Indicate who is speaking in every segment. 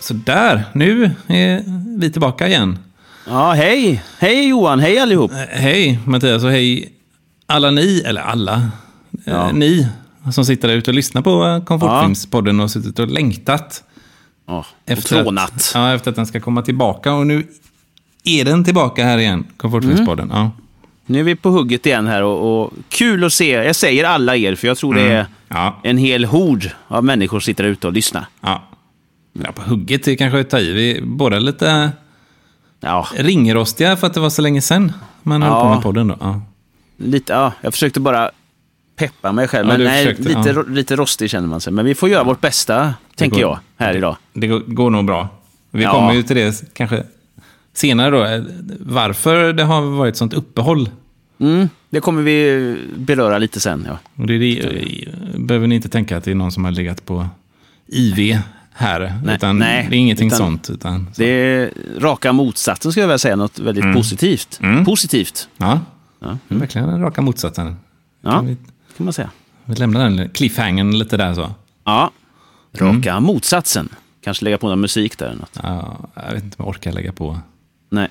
Speaker 1: Så där, nu är vi tillbaka igen.
Speaker 2: Ja, hej! Hej Johan, hej allihop!
Speaker 1: Eh, Hej Mattias och hej alla ni, eller alla eh,
Speaker 2: Ja.
Speaker 1: ni som sitter där ute och lyssnar på eh, Komfortfilmspodden och har suttit och längtat.
Speaker 2: Ja, och
Speaker 1: Efter
Speaker 2: trånat.
Speaker 1: att, ja, efter att den ska komma tillbaka och nu är den tillbaka här igen, Komfortfilmspodden.
Speaker 2: Mm.
Speaker 1: Ja.
Speaker 2: Nu är vi på hugget igen här och, och kul att se. Jag säger alla er, för jag tror det är
Speaker 1: Mm. Ja.
Speaker 2: en hel hord av människor som sitter där ute och lyssnar.
Speaker 1: Ja. ja, på hugget är kanske att ta i. Vi är båda lite
Speaker 2: Ja,
Speaker 1: ringrostiga för att det var så länge sedan man höll
Speaker 2: Ja.
Speaker 1: på med podden då. Ja.
Speaker 2: lite, ja, jag försökte bara peppa mig själv,
Speaker 1: Ja,
Speaker 2: men
Speaker 1: du
Speaker 2: nej,
Speaker 1: försökte,
Speaker 2: lite,
Speaker 1: ja.
Speaker 2: ro- lite rostig känner man sig. Men vi får göra vårt bästa, tänker
Speaker 1: går-
Speaker 2: jag, här idag.
Speaker 1: Det går, går nog bra. Vi
Speaker 2: Ja.
Speaker 1: kommer ju till det kanske senare då. eh, Varför det har varit sånt uppehåll.
Speaker 2: Mm, det kommer vi beröra lite sen. Ja.
Speaker 1: Och det är det, behöver ni inte tänka att det är någon som har legat på IV här.
Speaker 2: Nej,
Speaker 1: utan
Speaker 2: nej,
Speaker 1: det är ingenting
Speaker 2: utan-
Speaker 1: sånt. Utan,
Speaker 2: Det är raka motsatsen, skulle jag vilja säga, något väldigt
Speaker 1: Mm.
Speaker 2: positivt. Positivt,
Speaker 1: ja, Mm.
Speaker 2: Ja, mm.
Speaker 1: verkligen den raka motsatsen.
Speaker 2: ja,
Speaker 1: Vi,
Speaker 2: kan man säga.
Speaker 1: vi lämnar den cliffhangern lite där så.
Speaker 2: Ja,
Speaker 1: Mm.
Speaker 2: raka motsatsen. Kanske lägga på någon musik där eller något.
Speaker 1: Ja, jag vet inte om jag orkar lägga på.
Speaker 2: Nej,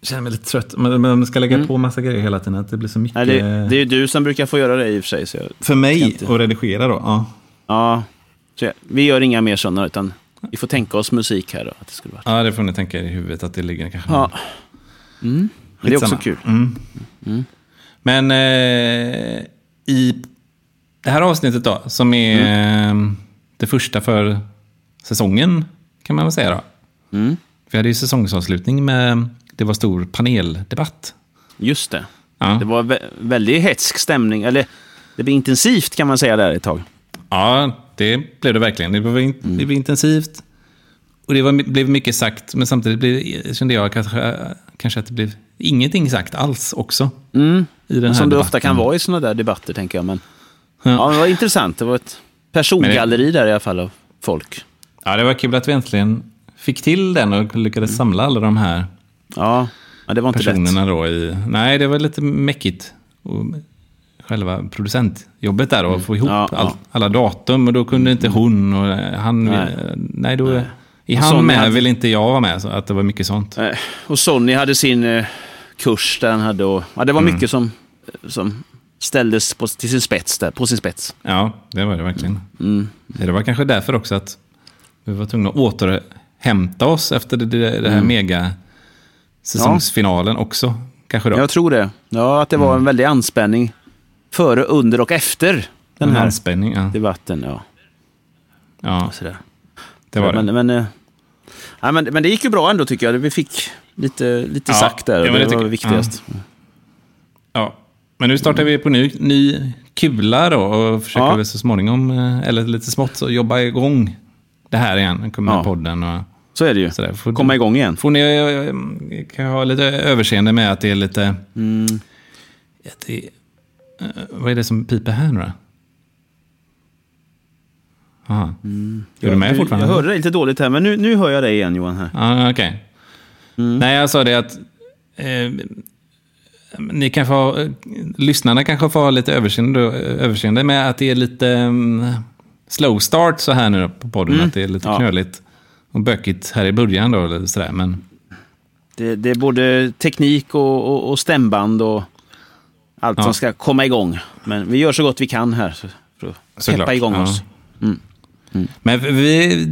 Speaker 1: Jag känner mig lite trött. Men men man ska lägga på massa grejer hela tiden. Att det blir så mycket.
Speaker 2: Mm. Nej det, det är ju du som brukar få göra det i och för sig. Så jag,
Speaker 1: För mig att redigera då. Ja.
Speaker 2: ja, så jag, vi gör inga mer sådana, utan vi får tänka oss musik här då. Att det skulle vara.
Speaker 1: ja, det får ni tänka er i huvudet att det ligger kanske.
Speaker 2: Ja. Mm. Men det är också
Speaker 1: Skitsamma.
Speaker 2: kul.
Speaker 1: Mm. Men eh, i det här avsnittet då, som är
Speaker 2: Mm.
Speaker 1: eh, det första för säsongen, kan man väl säga då.
Speaker 2: Mm.
Speaker 1: Vi hade ju säsongsavslutning med, det var stor paneldebatt.
Speaker 2: Just det.
Speaker 1: Ja,
Speaker 2: Det var vä- väldigt hetsk stämning, eller det blev intensivt kan man säga där ett tag.
Speaker 1: ja det blev det verkligen. Det blev, in,
Speaker 2: Mm.
Speaker 1: det blev intensivt. Och det var, blev mycket sagt, men samtidigt blev, kände jag kanske, kanske att det blev ingenting sagt alls också.
Speaker 2: Mm.
Speaker 1: I den här
Speaker 2: Som det
Speaker 1: debatten.
Speaker 2: ofta kan vara i sådana där debatter, tänker jag. Men,
Speaker 1: Ja.
Speaker 2: ja. det var intressant. Det var ett persongalleri där i alla fall av folk.
Speaker 1: Ja, det var kul att vi äntligen fick till den och lyckades samla alla de här
Speaker 2: Ja, ja det var inte Mm. lätt.
Speaker 1: personerna då i... Nej, det var lite mäckigt. Och själva producentjobbet där och få ihop
Speaker 2: Mm. Ja,
Speaker 1: all,
Speaker 2: ja.
Speaker 1: alla datum. Och då kunde inte hon och eh, han... Nej,
Speaker 2: Nej.
Speaker 1: nej då... Är
Speaker 2: Och
Speaker 1: han
Speaker 2: Sonja
Speaker 1: med
Speaker 2: hade-
Speaker 1: vill inte jag vara med. Så att det var mycket sånt.
Speaker 2: Eh, Och Sonny hade sin eh, kurs där han hade och, ja, det var
Speaker 1: Mm.
Speaker 2: mycket som, eh, som ställdes på, till sin spets där, på sin spets.
Speaker 1: Ja, det var det verkligen.
Speaker 2: Mm.
Speaker 1: Det var kanske därför också att vi var tvungna att återhämta oss efter det, det, det här
Speaker 2: Mm.
Speaker 1: mega säsongsfinalen också. Kanske då.
Speaker 2: Jag tror det. Ja, att det
Speaker 1: Mm.
Speaker 2: var en väldig anspänning före, under och efter den
Speaker 1: En
Speaker 2: här
Speaker 1: anspänning. Ja,
Speaker 2: debatten. Ja,
Speaker 1: ja
Speaker 2: sådär.
Speaker 1: det var det.
Speaker 2: men, men, eh, ja, men, men det gick ju bra ändå tycker jag. Vi fick lite, lite
Speaker 1: Ja,
Speaker 2: sagt där och
Speaker 1: ja, men
Speaker 2: det,
Speaker 1: det
Speaker 2: var
Speaker 1: tycker-
Speaker 2: viktigast.
Speaker 1: Ja, men nu startar vi på ny, ny kula då och försöker
Speaker 2: Ja.
Speaker 1: väl så småningom, eh, eller lite smått, så jobba igång det här igen. Kommer med
Speaker 2: Ja.
Speaker 1: podden och
Speaker 2: Så är det ju.
Speaker 1: sådär. Får,
Speaker 2: Komma igång igen.
Speaker 1: får ni eh, kan jag ha lite överseende med att det är lite...
Speaker 2: Mm.
Speaker 1: Att det, eh, vad är det som piper här nu då? Aha. Är du med fortfarande?
Speaker 2: Mm. Jag hörde dig lite dåligt här, men nu, nu hör jag dig igen Johan. här.
Speaker 1: Ja, okej.
Speaker 2: Mm.
Speaker 1: Nej, jag sa det att eh, ni kan få, eh, lyssnarna kanske får ha lite överseende, överseende med att det är lite mm, slow start så här nu på podden. Att det är lite
Speaker 2: Mm. Ja.
Speaker 1: knöligt och bökigt här i början då. Eller sådär. Men
Speaker 2: Det, det är både teknik och, och, och stämband och allt
Speaker 1: Ja.
Speaker 2: som ska komma igång. Men vi gör så gott vi kan här så- för att
Speaker 1: Såklart,
Speaker 2: peppa igång
Speaker 1: ja.
Speaker 2: oss.
Speaker 1: Men vi,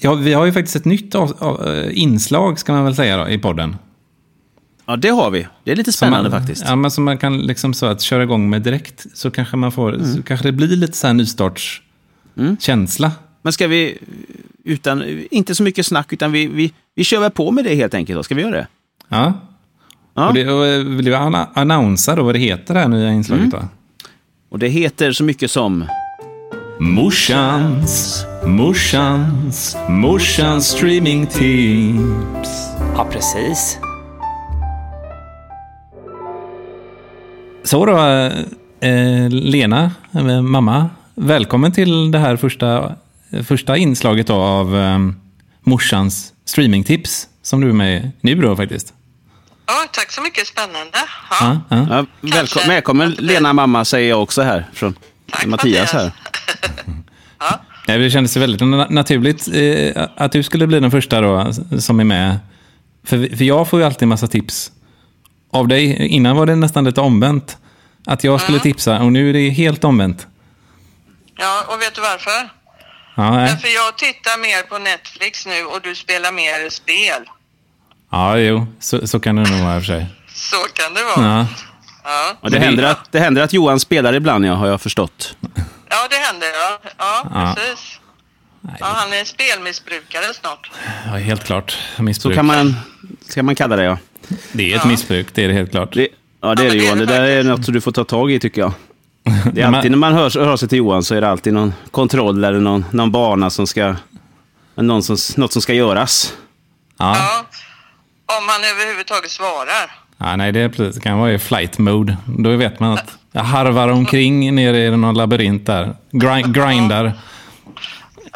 Speaker 1: ja, vi har ju faktiskt ett nytt av, av, eh, inslag, ska man väl säga, då, i podden.
Speaker 2: Ja, det har vi. Det är lite
Speaker 1: Som
Speaker 2: spännande
Speaker 1: man,
Speaker 2: faktiskt.
Speaker 1: Ja, men som man kan liksom så att köra igång med direkt. Så kanske, man får,
Speaker 2: Mm.
Speaker 1: så kanske det blir lite så här nystartskänsla.
Speaker 2: Men ska vi, utan, inte så mycket snack, utan vi, vi, vi kör väl på med det helt enkelt. Då. Ska vi göra det?
Speaker 1: Ja.
Speaker 2: Ja.
Speaker 1: Och det, och eh, vill du anna- annonsa då vad det heter det här nya inslaget då?
Speaker 2: Och det heter så mycket som...
Speaker 1: Morsans, morsans, morsans streamingtips.
Speaker 3: Ja, precis.
Speaker 1: Så då, eh, Lena, eh, mamma, välkommen till det här första, eh, första inslaget då av eh, morsans streamingtips. Som du är med i nu då faktiskt.
Speaker 4: Ja, tack så mycket. Spännande. Ja,
Speaker 1: Ja, ja.
Speaker 2: Ja, välkom,
Speaker 4: Kanske.
Speaker 2: välkommen Lena mamma säger jag också här från
Speaker 4: tack,
Speaker 2: Mattias här.
Speaker 1: Nej, Det kändes ju väldigt na- naturligt eh, att du skulle bli den första då som är med. För, vi- för jag får ju alltid en massa tips av dig. Innan var det nästan lite omvänt. Att jag skulle tipsa och nu är det helt omvänt.
Speaker 4: Ja, och vet du varför?
Speaker 1: Ja, nej.
Speaker 4: Därför jag tittar mer på Netflix nu och du spelar mer spel.
Speaker 1: ja jo, så, så kan det nog vara i och för sig.
Speaker 4: Så kan det vara.
Speaker 1: Ja.
Speaker 4: Ja,
Speaker 2: Ja, det, händer att, det händer att Johan spelar ibland, ja, har jag förstått.
Speaker 4: ja det händer ja. Ja,
Speaker 1: Ja.
Speaker 4: precis. Ja, han är spelmissbrukare snart.
Speaker 1: Ja, helt klart.
Speaker 2: Så
Speaker 1: Missbruk.
Speaker 2: kan man, kan man kalla det, ja.
Speaker 1: Det är ett missbruk, det är det helt klart.
Speaker 2: Det, ja, det är
Speaker 4: men
Speaker 2: det
Speaker 4: det är
Speaker 2: Johan. Det
Speaker 4: det
Speaker 2: där är
Speaker 4: faktiskt.
Speaker 2: något som du får ta tag i, tycker jag. Det är
Speaker 1: Men-
Speaker 2: alltid när man hör, hör sig till Johan så är det alltid någon kontroll eller någon, någon bana som ska... Någon som, något som ska göras.
Speaker 1: Ja.
Speaker 4: Ja. Om han överhuvudtaget svarar.
Speaker 1: Ja, nej, det är precis. Det kan vara i flight mode. Då vet man att jag harvar omkring nere i någon labyrint där. Grind, grindar.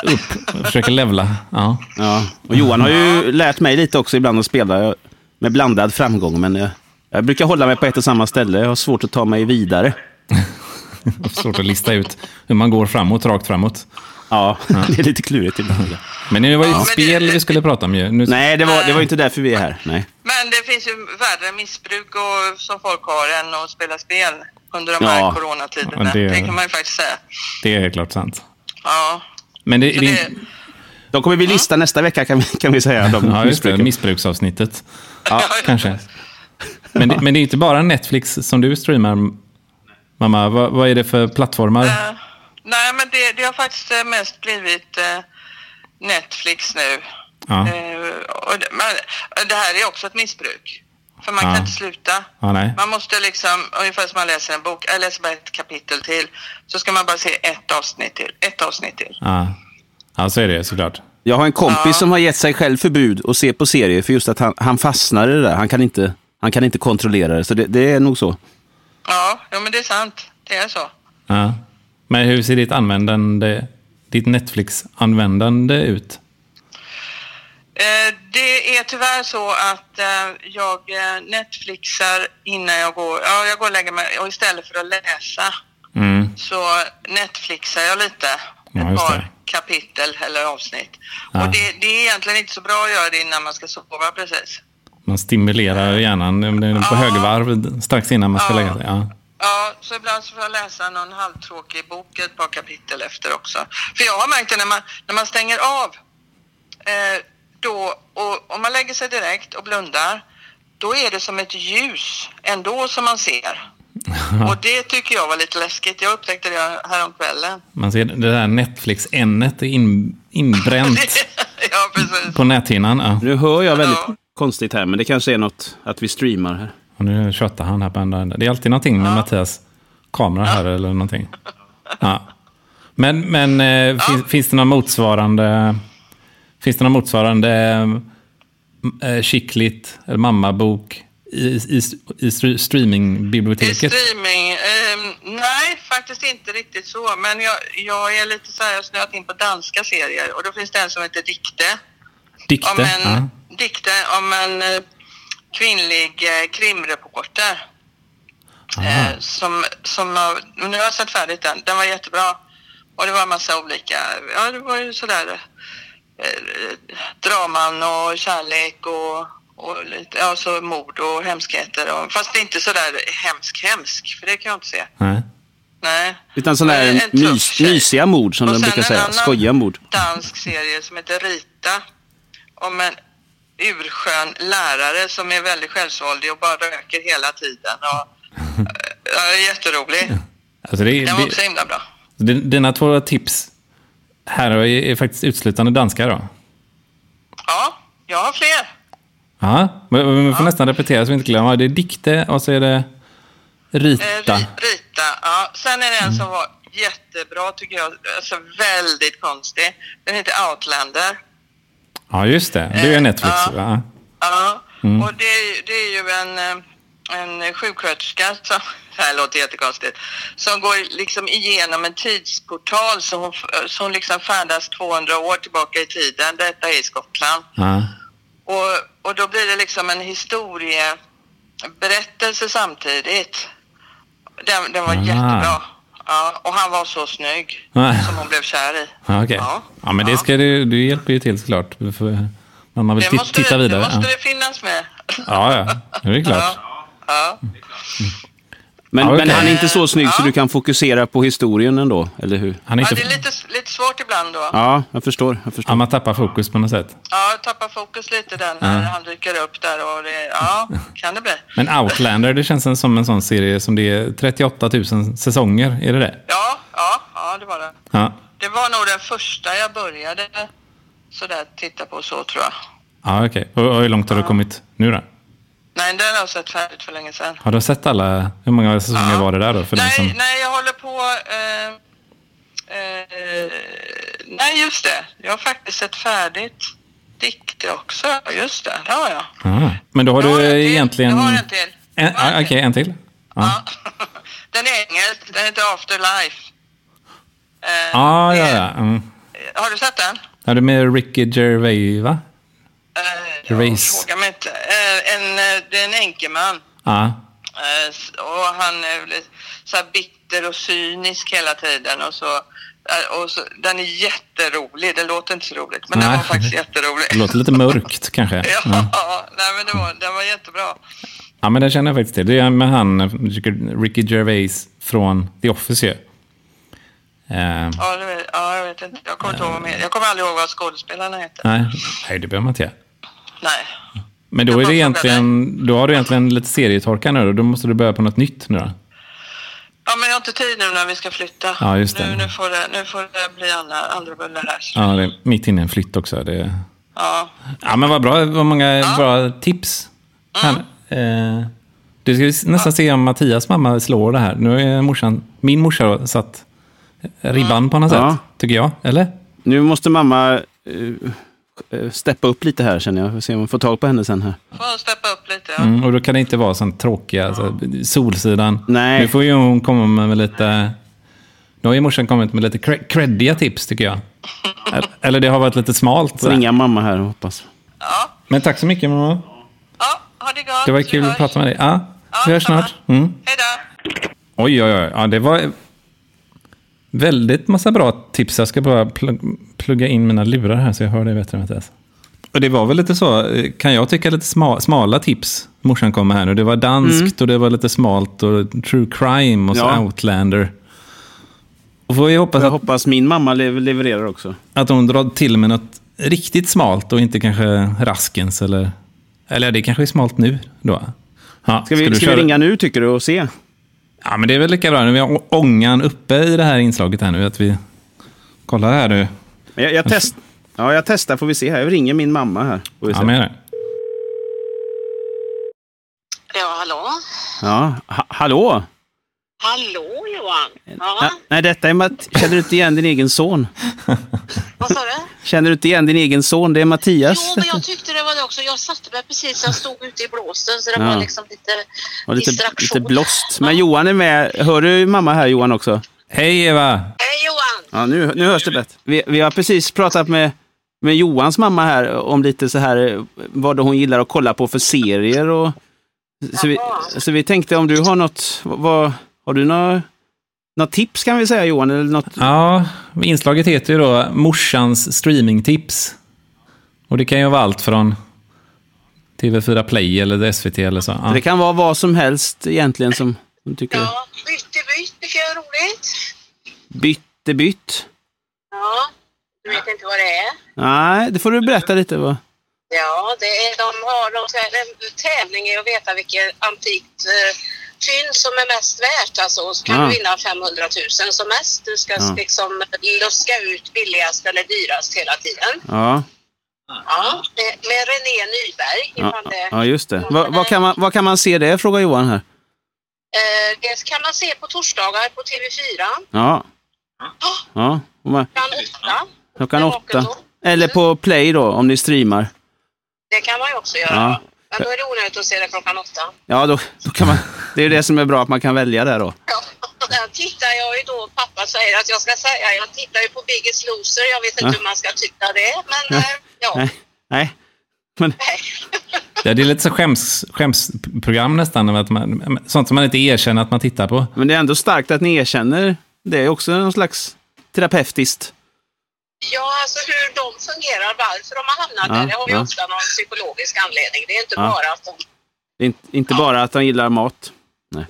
Speaker 1: Upp och försöker levla. Ja.
Speaker 2: Ja. Och Johan har ju lärt mig lite också ibland att spela med blandad framgång, men jag, jag brukar hålla mig på ett och samma ställe. Jag har svårt att ta mig vidare.
Speaker 1: Svårt att lista ut hur man går framåt, rakt framåt.
Speaker 2: Ja, det är lite klurigt ibland.
Speaker 1: Men det var ju
Speaker 4: Ja.
Speaker 1: ett spel vi skulle prata om ju. Nu,
Speaker 2: Nej, det var, det var ju inte därför vi är här. Nej.
Speaker 4: Men det finns ju värre missbruk och, som folk har än att spela spel under de här
Speaker 2: Ja.
Speaker 4: coronatiderna.
Speaker 1: Ja, det-
Speaker 4: Det... kan man ju faktiskt säga.
Speaker 1: Det är helt klart sant.
Speaker 4: Ja.
Speaker 1: Men det,
Speaker 4: Så
Speaker 1: det,
Speaker 4: det,
Speaker 1: är-
Speaker 2: De kommer vi lista nästa vecka, kan vi, kan vi säga. De
Speaker 1: ja, just det,
Speaker 2: missbruken.
Speaker 1: missbruksavsnittet. Kanske. Men det, men det är inte bara Netflix som du streamar, mamma. Vad, vad är det för plattformar?
Speaker 4: eh, nej, men det, det har faktiskt eh, mest blivit eh, Netflix nu.
Speaker 1: Ja.
Speaker 4: Eh, och det, men eh, det här är också ett missbruk. För man
Speaker 1: Ja.
Speaker 4: kan inte sluta.
Speaker 1: Ja, nej.
Speaker 4: Man måste liksom, ungefär som man läser en bok, jag läser bara ett kapitel till, så ska man bara se ett avsnitt till, ett avsnitt till.
Speaker 1: Ja. ja, så är det såklart.
Speaker 2: Jag har en kompis
Speaker 4: Ja.
Speaker 2: som har gett sig själv förbud att se på serier för just att han, han fastnar i det där. Han kan inte, han kan inte kontrollera det, så det, det är nog så.
Speaker 4: Ja, ja, men det är sant. Det är så.
Speaker 1: Ja. Men hur ser ditt användande, ditt Netflix-användande ut?
Speaker 4: Eh, Det är tyvärr så att eh, jag eh, Netflixar innan jag går, ja, jag går och lägger mig och istället för att läsa
Speaker 1: Mm.
Speaker 4: så Netflixar jag lite.
Speaker 1: Ja,
Speaker 4: ett
Speaker 1: just
Speaker 4: par
Speaker 1: det.
Speaker 4: kapitel eller avsnitt.
Speaker 1: Ja.
Speaker 4: Och det, det är egentligen inte så bra att göra det innan man ska sova precis.
Speaker 1: Man stimulerar hjärnan den är på högvarv strax innan man ska
Speaker 4: Ja.
Speaker 1: lägga sig. Ja.
Speaker 4: Ja, så ibland så får jag läsa någon halvtråkig bok ett par kapitel efter också. För jag har märkt det när man, när man stänger av, eh, då, och om man lägger sig direkt och blundar, då är det som ett ljus ändå som man ser. Och det tycker jag var lite läskigt. Jag upptäckte det häromkvällen.
Speaker 1: Man ser det där Netflix-n-et är in, inbränt
Speaker 4: ja, precis.
Speaker 1: på näthinnan. Ja.
Speaker 2: Nu hör jag väldigt
Speaker 4: Ja.
Speaker 2: konstigt här, men det kanske är något att vi streamar här.
Speaker 1: Och nu tjötar han här på andra änden. Det är alltid någonting med Mattias kamera här eller någonting. Ja. Men, men eh, Finns, finns det någon motsvarande... Finns det någon motsvarande eh, chicklit eller mammabok i, i, i str-
Speaker 4: I
Speaker 1: streamingbiblioteket?
Speaker 4: streaming? ehm, nej, faktiskt inte riktigt så. Men jag, jag är lite så här, jag har snöat in på danska serier och då finns det en som heter Dikte.
Speaker 1: Dikter?
Speaker 4: om en,
Speaker 1: Ja.
Speaker 4: dikten om en eh, kvinnlig eh, krimreporter. Eh, som, som har, men nu har jag sett färdigt den. Den var jättebra. Och det var en massa olika, ja det var ju sådär eh, draman och kärlek och, och lite, ja, så mord och hemskheter. Och, fast det är inte sådär hemsk hemsk, för det kan jag inte se.
Speaker 1: Nej.
Speaker 4: Nej.
Speaker 2: Utan sådana
Speaker 4: Eh, en
Speaker 2: här
Speaker 4: tuff
Speaker 2: mys,
Speaker 4: tjej.
Speaker 2: mysiga mord som
Speaker 4: Och
Speaker 2: de
Speaker 4: sen
Speaker 2: brukar
Speaker 4: en
Speaker 2: säga.
Speaker 4: annan
Speaker 2: Skojiga mord.
Speaker 4: dansk serie som heter Rita. Om en urskön lärare som är väldigt självsvåldig och bara röker hela tiden. Och, ja, jätterolig.
Speaker 1: Alltså det,
Speaker 4: Den var också
Speaker 1: det,
Speaker 4: himla bra.
Speaker 1: din- dina två tips här är, är faktiskt uteslutande danska då?
Speaker 4: Ja, jag har fler.
Speaker 1: Ja, men men vi får nästan repetera så vi inte glömmer. Det är dikter och så är det
Speaker 4: Eh,
Speaker 1: Rita.
Speaker 4: Ri- Rita, ja. Sen är det
Speaker 2: Mm.
Speaker 4: en som var jättebra tycker jag. Alltså väldigt konstig. Den heter Outlander.
Speaker 1: Ja, just det. Det är ju
Speaker 4: Eh,
Speaker 1: Netflix.
Speaker 4: ja.
Speaker 1: va?
Speaker 4: Ja,
Speaker 1: Mm.
Speaker 4: och det, är ju- det är ju en, eh, en sjuksköterska, som, det här låter jättekonstigt, som går liksom igenom en tidsportal som hon, f- som liksom färdas 200 år tillbaka i tiden. Detta är i Skottland.
Speaker 1: Ja.
Speaker 4: Och, och då blir det liksom en historieberättelse samtidigt. Den, den var
Speaker 1: Ah.
Speaker 4: jättebra. Ja, och han var så snygg
Speaker 1: Nej.
Speaker 4: som hon blev kär i.
Speaker 1: Ja, okej.
Speaker 4: Ja.
Speaker 1: Ja, men det ska du, du hjälper ju till såklart. För, man vill
Speaker 4: Det
Speaker 1: tit-
Speaker 4: måste,
Speaker 1: titta
Speaker 4: det,
Speaker 1: vidare.
Speaker 4: det måste
Speaker 1: ja.
Speaker 4: det finnas med.
Speaker 1: ja, ja. Det är klart.
Speaker 4: Ja.
Speaker 2: Men,
Speaker 1: Ja, okej.
Speaker 2: men han är inte så snygg så
Speaker 4: Ja.
Speaker 2: du kan fokusera på historien ändå, eller hur?
Speaker 1: Han är
Speaker 4: Ja,
Speaker 1: inte...
Speaker 4: det är lite, lite svårt ibland då. Ja,
Speaker 2: Ja, jag förstår. Jag förstår.
Speaker 1: ja, man tappar fokus på något sätt.
Speaker 4: jag tappar fokus lite där när han dyker upp där och det, ja, kan det bli.
Speaker 1: Men Outlander, det känns som en sån serie som det är 38 000 säsonger. Är det det?
Speaker 4: Ja, ja, ja, det var det.
Speaker 1: Ja.
Speaker 4: Det var nog den första jag började sådär titta på så tror jag.
Speaker 1: Ja, okej. Och, och hur långt har du kommit nu då?
Speaker 4: Nej, den har jag sett färdigt för länge sedan.
Speaker 1: Har du sett alla? Hur många säsonger
Speaker 4: Ja.
Speaker 1: var det där då? För
Speaker 4: nej,
Speaker 1: den som...
Speaker 4: nej, jag håller på... Eh, eh, nej, just det. Jag har faktiskt sett färdigt dikter också. Just det, det har jag.
Speaker 1: Ja. Men då har
Speaker 4: Jag har en
Speaker 1: du
Speaker 4: till.
Speaker 1: egentligen...
Speaker 4: Jag har en till.
Speaker 1: En-
Speaker 4: Jag har en
Speaker 1: ah, Okej,
Speaker 4: till.
Speaker 1: en till? Ja,
Speaker 4: Ja. Den är engelsk. Den heter Afterlife. Eh,
Speaker 1: ja, ja.
Speaker 4: det-
Speaker 1: ja. Mm.
Speaker 4: Har du sett den?
Speaker 1: Är du med Ricky Gervais, va?
Speaker 4: Eh, jag
Speaker 1: Race.
Speaker 4: frågar mig inte. Eh, en, eh, det är en änkeman.
Speaker 1: Ja.
Speaker 4: Eh, s- och han är väl så här bitter och cynisk hela tiden. Och så, eh, och så, den är jätterolig. Det låter inte så roligt, men den
Speaker 1: Nej.
Speaker 4: var faktiskt jätterolig.
Speaker 1: Det låter lite mörkt kanske.
Speaker 4: ja,
Speaker 1: Ja.
Speaker 4: nej, men det var, den var jättebra.
Speaker 1: Ja, men den känner jag faktiskt till. Det är med han, Ricky Gervais från The Office ju. Eh,
Speaker 4: Ja, det, vet- ja, jag vet inte. Jag kommer inte ihåg vad mer. Jag kommer aldrig ihåg vad skådespelarna heter.
Speaker 1: nej. nej, det behöver man inte göra.
Speaker 4: Nej.
Speaker 1: Men då,
Speaker 4: Jag
Speaker 1: är
Speaker 4: bara
Speaker 1: det
Speaker 4: frågar
Speaker 1: egentligen, då har du egentligen lite serietorka nu då. Då måste du börja på något nytt nu då.
Speaker 4: Ja, men jag har inte tid nu när vi ska flytta.
Speaker 1: Ja, just det.
Speaker 4: Nu, nu, får, det, nu får det bli andra, andra bullar här. Ja.
Speaker 1: Ja, det är mitt inne i en flytt också. Det...
Speaker 4: Ja.
Speaker 1: Ja, men vad bra. Vad många bra tips. Här, eh, du ska s- nästan se om Mattias mamma slår det här. Nu är morsan, min morsa har satt ribban på något
Speaker 2: Ja.
Speaker 1: sätt, tycker jag. Eller?
Speaker 2: Nu måste mamma eh, eh, steppa upp lite här känner jag. Vi får se om vi får tag på henne sen här.
Speaker 4: Får steppa upp lite. Ja.
Speaker 1: Mm, och då kan det inte vara sånt tråkiga, alltså, Solsidan.
Speaker 2: Nej.
Speaker 1: Nu får ju hon komma med lite... Nu har ju morsan kommit med lite cre- creddiga tips, tycker jag. Eller- Eller det har varit lite smalt. så
Speaker 2: Får
Speaker 1: här.
Speaker 2: ringa mamma här och hoppas.
Speaker 4: Ja.
Speaker 1: Men tack så mycket, mamma.
Speaker 4: ja, ha det gott.
Speaker 1: Det var
Speaker 4: Vi
Speaker 1: kul att
Speaker 4: hörs.
Speaker 1: prata med dig. Ja, vi
Speaker 4: Ja,
Speaker 1: hörs
Speaker 4: samma.
Speaker 1: snart. Mm.
Speaker 4: Hej då.
Speaker 1: Oj, oj, oj. Ja, det var väldigt massa bra tips. Jag ska bara plug- plugga in mina lurar här så jag hör dig bättre, Mattias. Och det var väl lite så, eh, kan jag tycka, lite sma- smala tips morsan kom med här nu. Det var danskt och det var lite smalt och true crime och så
Speaker 2: Mm. Ja.
Speaker 1: outlander. Och får vi hoppas
Speaker 2: Jag
Speaker 1: att,
Speaker 2: hoppas min mamma lever- levererar också.
Speaker 1: att hon drar till med något riktigt smalt och inte kanske Raskens eller... Eller det kanske är smalt nu då. Ja,
Speaker 2: Ska vi,
Speaker 1: du
Speaker 2: ska vi
Speaker 1: köra-
Speaker 2: ringa nu tycker du och se?
Speaker 1: Ja, men det är väl lika bra. Nu har vi å- ångan uppe i det här inslaget här nu. Att vi... Kolla här nu.
Speaker 2: Men Jag, jag, test, ja, jag testar får vi se här. Jag ringer min mamma här. Får vi
Speaker 1: Ja,
Speaker 2: se.
Speaker 1: men,
Speaker 3: Ja, hallå?
Speaker 2: ja. Ha, hallå?
Speaker 3: Hallå Johan! Ja,
Speaker 2: Ja, nej, detta är Matt... Känner du inte igen din egen son?
Speaker 3: vad sa du?
Speaker 2: Känner du inte igen din egen son? Det är Mattias.
Speaker 3: Jo, men jag tyckte det var det också. Jag satte mig precis, jag stod ute i blåsten så det
Speaker 2: Ja.
Speaker 3: var liksom lite
Speaker 2: Och lite,
Speaker 3: distraktion.
Speaker 2: lite blåst. Men Johan är med. Hör du mamma här Johan också?
Speaker 1: hej Eva!
Speaker 3: Hej Johan!
Speaker 2: Ja, nu, nu hörs det bättre. Vi, vi har precis pratat med, med Johans mamma här om lite så här eh, vad hon gillar att kolla på för serier och så vi, så vi tänkte om du har något, vad- vad, har du några, några tips kan vi säga Johan? Eller något?
Speaker 1: Ja, inslaget heter ju då Morsans streamingtips. Och det kan ju vara allt från TV4 Play eller SVT eller så. Ja.
Speaker 2: Det kan vara vad som helst egentligen som, som tycker
Speaker 3: Ja, bytte bytt tycker jag är roligt.
Speaker 2: bytt är bytt.
Speaker 3: Ja, du vet inte vad det är?
Speaker 2: Nej, det får du berätta lite. Vad.
Speaker 3: Ja, det är, de har de, en tävling i att veta vilket antikt eh, fynd som är mest värt. Alltså, och så kan
Speaker 2: Ah.
Speaker 3: du vinna 500 000 som mest. Du ska
Speaker 2: Ah.
Speaker 3: liksom luska ut billigast eller dyrast hela tiden.
Speaker 2: Ja,
Speaker 3: Ja, med, med René Nyberg.
Speaker 2: ja,
Speaker 3: ifall det,
Speaker 2: ja, just det. Vad, vad, kan man, vad kan man se det? Frågar Johan här.
Speaker 3: eh, det kan man se på torsdagar på TV4
Speaker 2: Ja, ja. Och man- Klockan
Speaker 3: klockan åtta. Det är vaket
Speaker 2: åtta.
Speaker 3: då.
Speaker 2: Eller på play då, om ni streamar.
Speaker 3: Det kan man ju också göra.
Speaker 2: Ja.
Speaker 3: Men då är det onödigt att se det klockan åtta.
Speaker 2: Ja, då, då kan man... Det är ju det som är bra, att man kan välja där då.
Speaker 3: Ja, där tittar jag ju då. Pappa säger att jag ska säga. Jag tittar ju på Biggest Loser. Jag vet inte
Speaker 2: Ja.
Speaker 3: hur man ska titta det. Men
Speaker 2: Ja.
Speaker 3: eh, ja.
Speaker 2: Nej. Nej. Men,
Speaker 1: Ja, det är lite så skäms, skämsprogram nästan. Att man, sånt som man inte erkänner att man tittar på.
Speaker 2: men det är ändå starkt att ni erkänner Det är också någon slags terapeutiskt.
Speaker 3: Ja, alltså hur de fungerar, varför de har hamnat
Speaker 2: Ja,
Speaker 3: där, det har ju
Speaker 2: ja.
Speaker 3: ofta någon psykologisk anledning. Det är inte
Speaker 2: Ja.
Speaker 3: bara att de...
Speaker 2: Det är inte- inte bara att de gillar mat.
Speaker 3: Nej,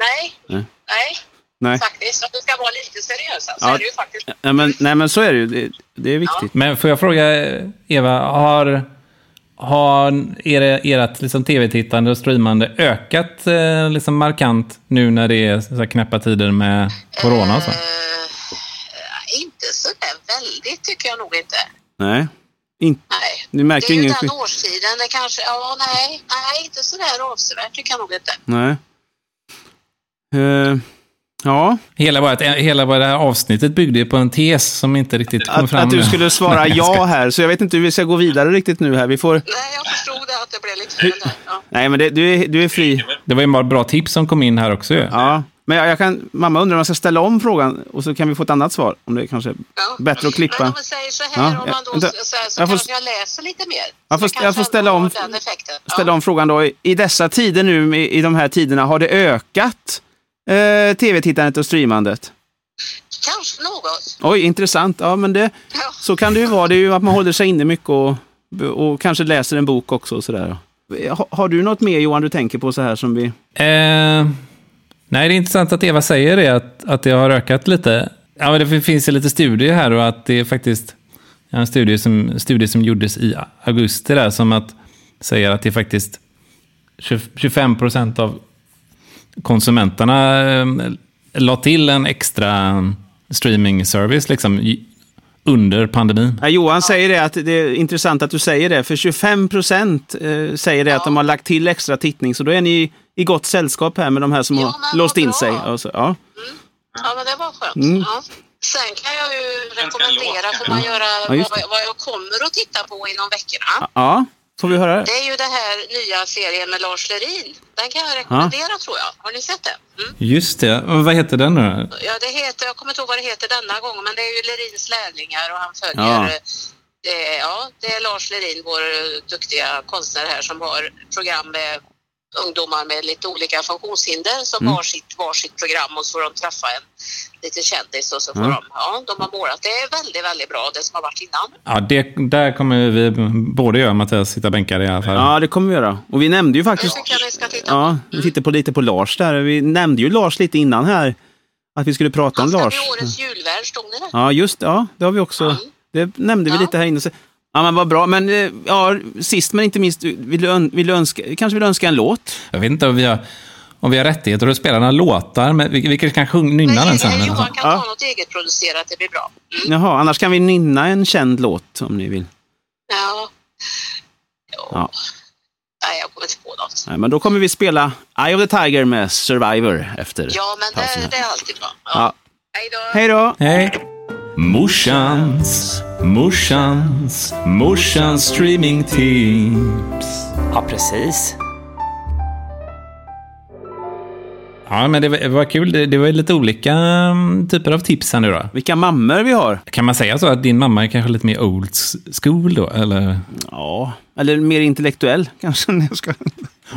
Speaker 2: Nej.
Speaker 3: nej,
Speaker 2: Nej,
Speaker 3: faktiskt. Att de ska vara lite seriösa så
Speaker 2: Ja.
Speaker 3: är det ju faktiskt.
Speaker 2: nej, men, nej men så är det ju. Det, det är viktigt.
Speaker 1: Men får jag fråga eh, Eva, har, har era, ert liksom, tv-tittande och streamande ökat eh, liksom, markant nu när det är så här, knäppa tider med corona? Och så?
Speaker 3: Eh, inte så där väldigt tycker jag nog inte.
Speaker 2: Nej. In,
Speaker 3: Nej.
Speaker 2: du
Speaker 3: Det
Speaker 2: märker
Speaker 3: är ju
Speaker 2: ingen
Speaker 3: den
Speaker 2: skillnad.
Speaker 3: årstiden, det kanske... Ja, nej, nej, inte så där avsevärt tycker jag nog inte.
Speaker 2: Nej. Eh, ja,
Speaker 1: Hela, vårt, eh, hela vårt det här avsnittet byggde ju på en tes som inte riktigt kom
Speaker 2: att,
Speaker 1: fram
Speaker 2: att du
Speaker 1: nu.
Speaker 2: skulle svara
Speaker 1: Nej, jag
Speaker 2: ja här, så jag vet inte hur vi ska gå vidare riktigt nu här. Vi får...
Speaker 3: Nej, jag förstod det att det blev lite fel där. Ja.
Speaker 2: Nej, men det, du, är, du är fri.
Speaker 1: Det var ju bara bra tips som kom in här också ju.
Speaker 2: Ja. Men jag, jag kan, mamma undrar om jag ska ställa om frågan och så kan vi få ett annat svar. Om det kanske
Speaker 3: Ja.
Speaker 2: Bättre att klippa.
Speaker 3: Men om man säger så här,
Speaker 2: Ja,
Speaker 3: om man då
Speaker 2: vänta.
Speaker 3: så, här, så
Speaker 2: Jag får-
Speaker 3: kanske jag läser lite mer.
Speaker 2: Jag får-
Speaker 3: Så
Speaker 2: jag får
Speaker 3: kanske
Speaker 2: ställa om-
Speaker 3: ändå har Den effekten. Ja.
Speaker 2: ställa om frågan då. I- I dessa tider nu, i, i de här tiderna, har det ökat eh, tv-tittandet och streamandet?
Speaker 3: Kanske något.
Speaker 2: Oj, intressant. Ja, men det,
Speaker 3: Ja.
Speaker 2: så kan det ju vara. Det är ju att man håller sig inne mycket och, och kanske läser en bok också och sådär. Ha, har du något mer Johan du tänker på så här som vi...
Speaker 1: Eh, nej, det är intressant att Eva säger det, att, att det har ökat lite. Ja, men det finns ju lite studier här och att det är faktiskt ja, en studie som, studie som gjordes i augusti där som att säger att det är faktiskt 20 25 procent av konsumenterna eh, la till en extra streaming service liksom, i- under pandemin.
Speaker 2: Ja, Johan säger det att det är intressant att du säger det, för 25 procent eh, säger det att de har lagt till extra tittning, så då är ni i gott sällskap här med de här som
Speaker 3: Ja, men
Speaker 2: har
Speaker 3: vad
Speaker 2: låst in
Speaker 3: bra.
Speaker 2: sig. Och så, ja.
Speaker 3: ja, men det var skönt. Ja. Sen kan jag ju rekommendera,
Speaker 5: låt,
Speaker 3: får man göra
Speaker 2: Mm. Ja, just
Speaker 3: vad, vad jag kommer att titta på inom veckorna.
Speaker 2: ja, får vi höra det?
Speaker 3: Det är ju det här nya serien med Lars Lerin. Den kan jag rekommendera tror jag. Har ni sett den? Mm.
Speaker 1: Just det. Och Vad heter den nu?
Speaker 3: Ja, det heter, jag kommer inte ihåg vad det heter denna gång, men det är ju Lerins lärlingar och han följer...
Speaker 2: Ja.
Speaker 3: Ja. Det, är- ja, det är Lars Lerin, vår eh, duktiga konstnär här, som har program med ungdomar med lite olika funktionshinder som
Speaker 2: Mm.
Speaker 3: har sitt varsitt program och så får de träffa en liten kändis och så
Speaker 2: Mm.
Speaker 3: får de, ja, de har målat. Det är väldigt, väldigt bra det som har varit innan.
Speaker 1: Ja, det, där kommer vi, både jag och Mattias, sitta bänkade i alla fall.
Speaker 2: Ja, det kommer vi göra. Och vi nämnde ju
Speaker 3: Det
Speaker 2: faktiskt...
Speaker 3: tycker jag ni ska titta på.
Speaker 2: Ja, vi tittar på lite på Lars där. Vi nämnde ju Lars lite innan här, att vi skulle prata om
Speaker 3: Han ska bli
Speaker 2: Lars.
Speaker 3: årets julvärd, stod ni det?
Speaker 2: Ja, just det. Ja, det har vi också. Det nämnde vi
Speaker 3: Ja.
Speaker 2: lite här inne. Så- Ja, men vad bra. Men eh, ja, sist men inte minst, du- vill du, ön- vill du önska, kanske vill du önska en låt?
Speaker 1: Jag vet inte om vi har, om vi har rättigheter att spela några låtar, men vi, vi kanske kan sjung- nynna den sen.
Speaker 3: Men
Speaker 1: eller så.
Speaker 3: Johan kan
Speaker 2: Ja.
Speaker 3: ta något eget producerat, det blir bra.
Speaker 2: Jaha, annars kan vi nynna en känd låt om ni vill.
Speaker 3: Ja. Jo.
Speaker 2: Ja.
Speaker 3: Nej, jag kommer inte på något.
Speaker 2: Nej, men då kommer vi spela Eye of the Tiger med Survivor efter.
Speaker 3: Ja, men
Speaker 2: pausen
Speaker 3: det,
Speaker 2: här.
Speaker 3: det är alltid bra. Ja.
Speaker 2: Ja.
Speaker 3: Hej då!
Speaker 2: Hej då!
Speaker 1: Hej! Morsans, morsans, morsans streamingtips.
Speaker 6: Ja, precis.
Speaker 1: Ja, men det var, det var kul. Det, det var ju lite olika mm, typer av tips här nu då.
Speaker 2: Vilka mammor vi har!
Speaker 1: Kan man säga så att din mamma är kanske lite mer old school då? Eller?
Speaker 2: Ja, eller mer intellektuell kanske. om jag ska-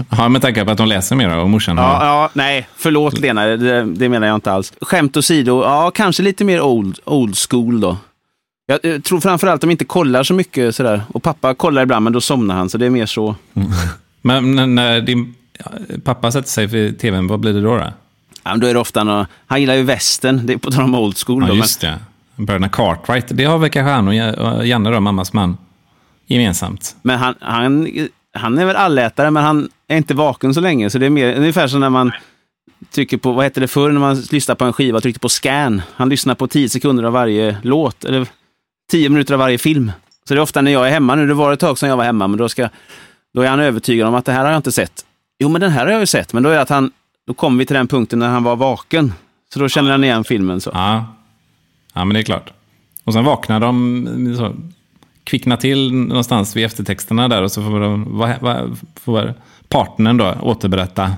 Speaker 1: Ja, med tanke på att hon läser mer då, och morsan
Speaker 2: Ja,
Speaker 1: har...
Speaker 2: ja, nej, förlåt Lena, det, det menar jag inte alls. Skämt åsido, ja, kanske lite mer old, old school då. Jag eh, tror framförallt de inte kollar så mycket sådär. Och pappa kollar ibland, men då somnar han, så det är mer så.
Speaker 1: Men när- när din ja, pappa sätter sig vid tvn, vad blir det då? då?
Speaker 2: Ja, men då är det ofta någon, han gillar ju västern, det är på tal om old school.
Speaker 1: Ja,
Speaker 2: då,
Speaker 1: just det. Bröderna Cartwright. Det har väl kanske han och Ja- och Janne, då, mammas man, gemensamt.
Speaker 2: Men, men han, han, han är väl allätare, men han är inte vaken så länge. Så det är mer, ungefär som när man trycker på, vad hette det förr, när man lyssnar på en skiva och tryckte på scan. Han lyssnar på 10 sekunder av varje låt, eller 10 minuter av varje film. Så det är ofta när jag är hemma nu, det var ett tag sedan jag var hemma, men då, ska, då är han övertygad om att det här har jag inte sett. Jo, men den här har jag ju sett, men då är det att han, då kommer vi till den punkten när han var vaken. Så då känner han igen filmen. Så.
Speaker 1: Ja. ja, men det är klart. Och sen vaknar de, så, kvicknar till någonstans vid eftertexterna där och så får, de, va, va, får partnern då återberätta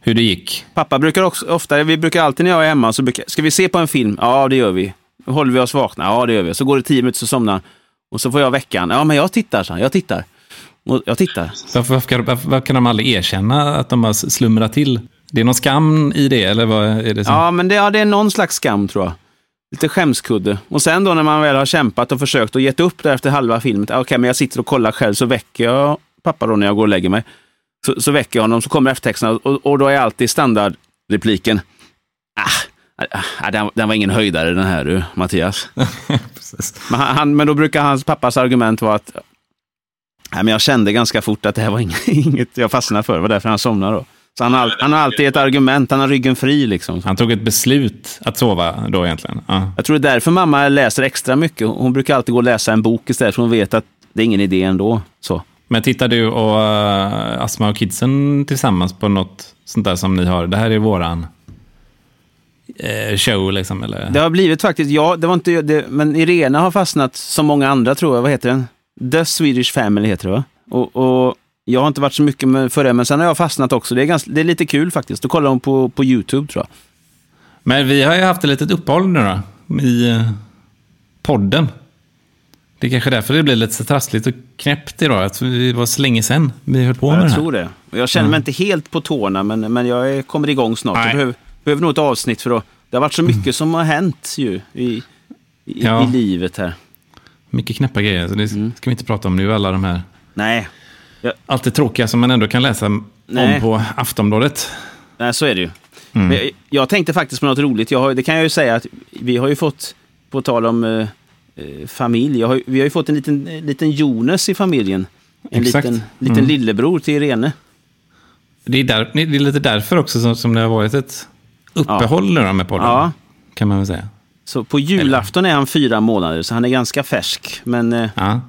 Speaker 1: hur det gick.
Speaker 2: Pappa brukar också, ofta, vi brukar alltid när jag är hemma, så brukar, ska vi se på en film? Ja, det gör vi. Håller vi oss vakna? Ja, det gör vi. Så går det tio minuter så somnar han. Och så får jag veckan. Ja, men jag tittar, så jag tittar. Och jag tittar.
Speaker 1: Varför, varför, kan- varför, varför kan de aldrig erkänna att de har slumrat till? Det är någon skam i det, eller vad är det? Som?
Speaker 2: Ja, men det, ja, det är någon slags skam tror jag. Lite skämskudde. Och sen då när man väl har kämpat och försökt och gett upp där efter halva filmen. Okej, men jag sitter och kollar själv så väcker jag pappa då när jag går och lägger mig. Så, så väcker jag honom, så kommer eftertexterna och, och då är alltid standardrepliken. Ah, ah, ah, den, den var ingen höjdare den här du, Mattias.
Speaker 1: Precis.
Speaker 2: Men, han- han, men då brukar hans pappas argument vara att Nej, men jag kände ganska fort att det här var inget, inget jag fastnade för. Det var därför han somnade då. Så han, har all, han har alltid ett argument, han har ryggen fri liksom.
Speaker 1: Han tog ett beslut att sova då egentligen. Ja.
Speaker 2: Jag tror det är därför mamma läser extra mycket. Hon brukar alltid gå och läsa en bok istället för hon vet att det är ingen idé ändå. Så.
Speaker 1: Men tittar du och eh, Asma och kidsen tillsammans på något sånt där som ni har? Det här är våran eh, show liksom, eller?
Speaker 2: Det har blivit faktiskt, ja, det var inte, det, men Irena har fastnat som många andra tror jag. Vad heter den? The Swedish Family heter det va? Och, och jag har inte varit så mycket med, för det, men sen har jag fastnat också. Det är, ganska, det är lite kul faktiskt. Då kollar hon på, på YouTube tror jag.
Speaker 1: Men vi har ju haft ett litet uppehåll nu då, i eh, podden. Det är kanske därför det blir lite så trassligt och knäppt idag. Att det var så länge sedan vi höll på med det
Speaker 2: jag
Speaker 1: här.
Speaker 2: tror det. Och jag känner mig inte helt på tårna, men, men jag är, kommer igång snart.
Speaker 1: Mm. Nej.
Speaker 2: Jag behöver, behöver nog ett avsnitt för att det har varit så mycket som har hänt ju i, i,
Speaker 1: Ja.
Speaker 2: i livet här.
Speaker 1: Mycket knäppa grejer, så det
Speaker 2: Mm.
Speaker 1: ska vi inte prata om nu, alla de här.
Speaker 2: Nej,
Speaker 1: Allt det tråkiga som man ändå kan läsa om
Speaker 2: Nej.
Speaker 1: på Aftonbladet.
Speaker 2: Nej, så är det ju.
Speaker 1: Mm.
Speaker 2: Men jag, jag tänkte faktiskt på något roligt. Jag har, det kan jag ju säga att vi har ju fått, på tal om eh, eh, familj, jag har, ju- vi har ju fått en liten, eh, liten Jonas i familjen. En
Speaker 1: Exakt.
Speaker 2: liten, liten
Speaker 1: Mm.
Speaker 2: lillebror till Irene.
Speaker 1: Det är, där, det är lite därför också som, som det har varit ett uppehåll nu då med podden.
Speaker 2: Ja.
Speaker 1: Kan man väl säga.
Speaker 2: Så på julafton är han fyra månader, så han är ganska färsk. Men, eh,
Speaker 1: Ja,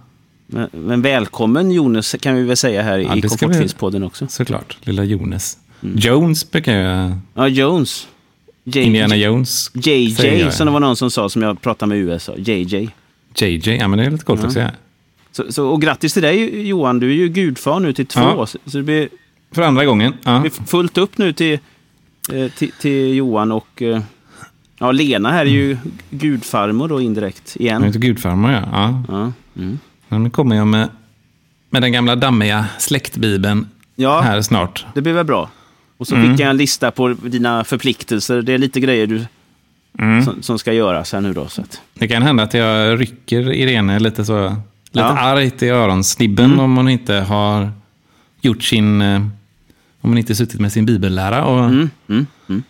Speaker 2: men, men välkommen Jonas kan vi väl säga här
Speaker 1: Ja,
Speaker 2: i
Speaker 1: det ska vi-
Speaker 2: Komfortfilmspodden också.
Speaker 1: såklart. Lilla Jones. Jones brukar ju...
Speaker 2: Ja, Jones. Mm. J-
Speaker 1: Indiana Jones. säger
Speaker 2: JJ,
Speaker 1: jag.
Speaker 2: som det var någon som sa som jag pratade med i USA. JJ.
Speaker 1: JJ, ja men det är lite coolt också. Ja.
Speaker 2: Så, så, och grattis till dig Johan, du är ju gudfar nu till två.
Speaker 1: Ja.
Speaker 2: Så, så det blir
Speaker 1: För andra gången. Ja.
Speaker 2: Det är fullt upp nu till, eh, till, till Johan och eh, ja, Lena här är ju gudfarmor då indirekt
Speaker 1: Han
Speaker 2: igen.
Speaker 1: heter gudfarmor ja. ja.
Speaker 2: Ja, mm.
Speaker 1: Men Nu kommer jag med, med den gamla dammiga släktbibeln
Speaker 2: ja
Speaker 1: här Mm. snart.
Speaker 2: det blir väl bra. Och så skickar jag en lista på dina förpliktelser. Det är lite grejer du,
Speaker 1: Mm.
Speaker 2: som, som ska göras här nu då. Så att,
Speaker 1: Det kan hända att jag rycker Irene lite så lite
Speaker 2: Ja. Mm.
Speaker 1: argt i öronsnibben om hon inte har gjort sin... eh, Om hon inte suttit med sin bibellära. Och,
Speaker 2: om Mm.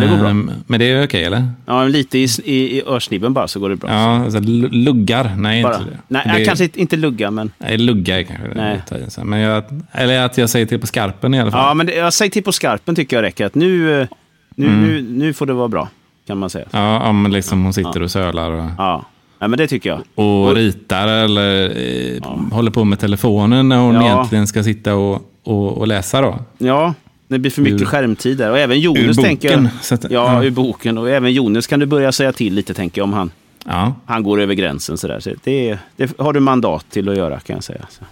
Speaker 2: det går bra.
Speaker 1: ehm, Men det är okej eller?
Speaker 2: Ja, men lite i, s- i, i örsnibben bara så går det bra.
Speaker 1: Ja, alltså, lu- luggar. Nej,
Speaker 2: bara.
Speaker 1: inte det.
Speaker 2: Nej,
Speaker 1: det,
Speaker 2: kanske inte- inte lugga men...
Speaker 1: Nej, lugga är kanske
Speaker 2: Nej.
Speaker 1: det. tar jag sen. Men jag, eller att jag säger till på skarpen i alla fall.
Speaker 2: Ja, men det, jag säger till på skarpen tycker jag räcker. Att nu, eh, nu, nu, nu får det vara bra, kan man säga.
Speaker 1: Mm. Ja, om liksom hon sitter och sölar och,
Speaker 2: Ja, ja men det tycker jag.
Speaker 1: och ritar eller eh, håller på med telefonen när hon
Speaker 2: Ja.
Speaker 1: egentligen ska sitta och, och, och läsa då.
Speaker 2: Ja, det blir för mycket
Speaker 1: Ur-
Speaker 2: skärmtid där. Och även Jonas
Speaker 1: ur boken,
Speaker 2: tänker jag.
Speaker 1: så att-
Speaker 2: ja,
Speaker 1: ja.
Speaker 2: ur boken. Och även Jonas kan du börja säga till lite, tänker jag, om han,
Speaker 1: Ja.
Speaker 2: han går över gränsen. Så där. Så det, det har du mandat till att göra, kan jag säga. Så.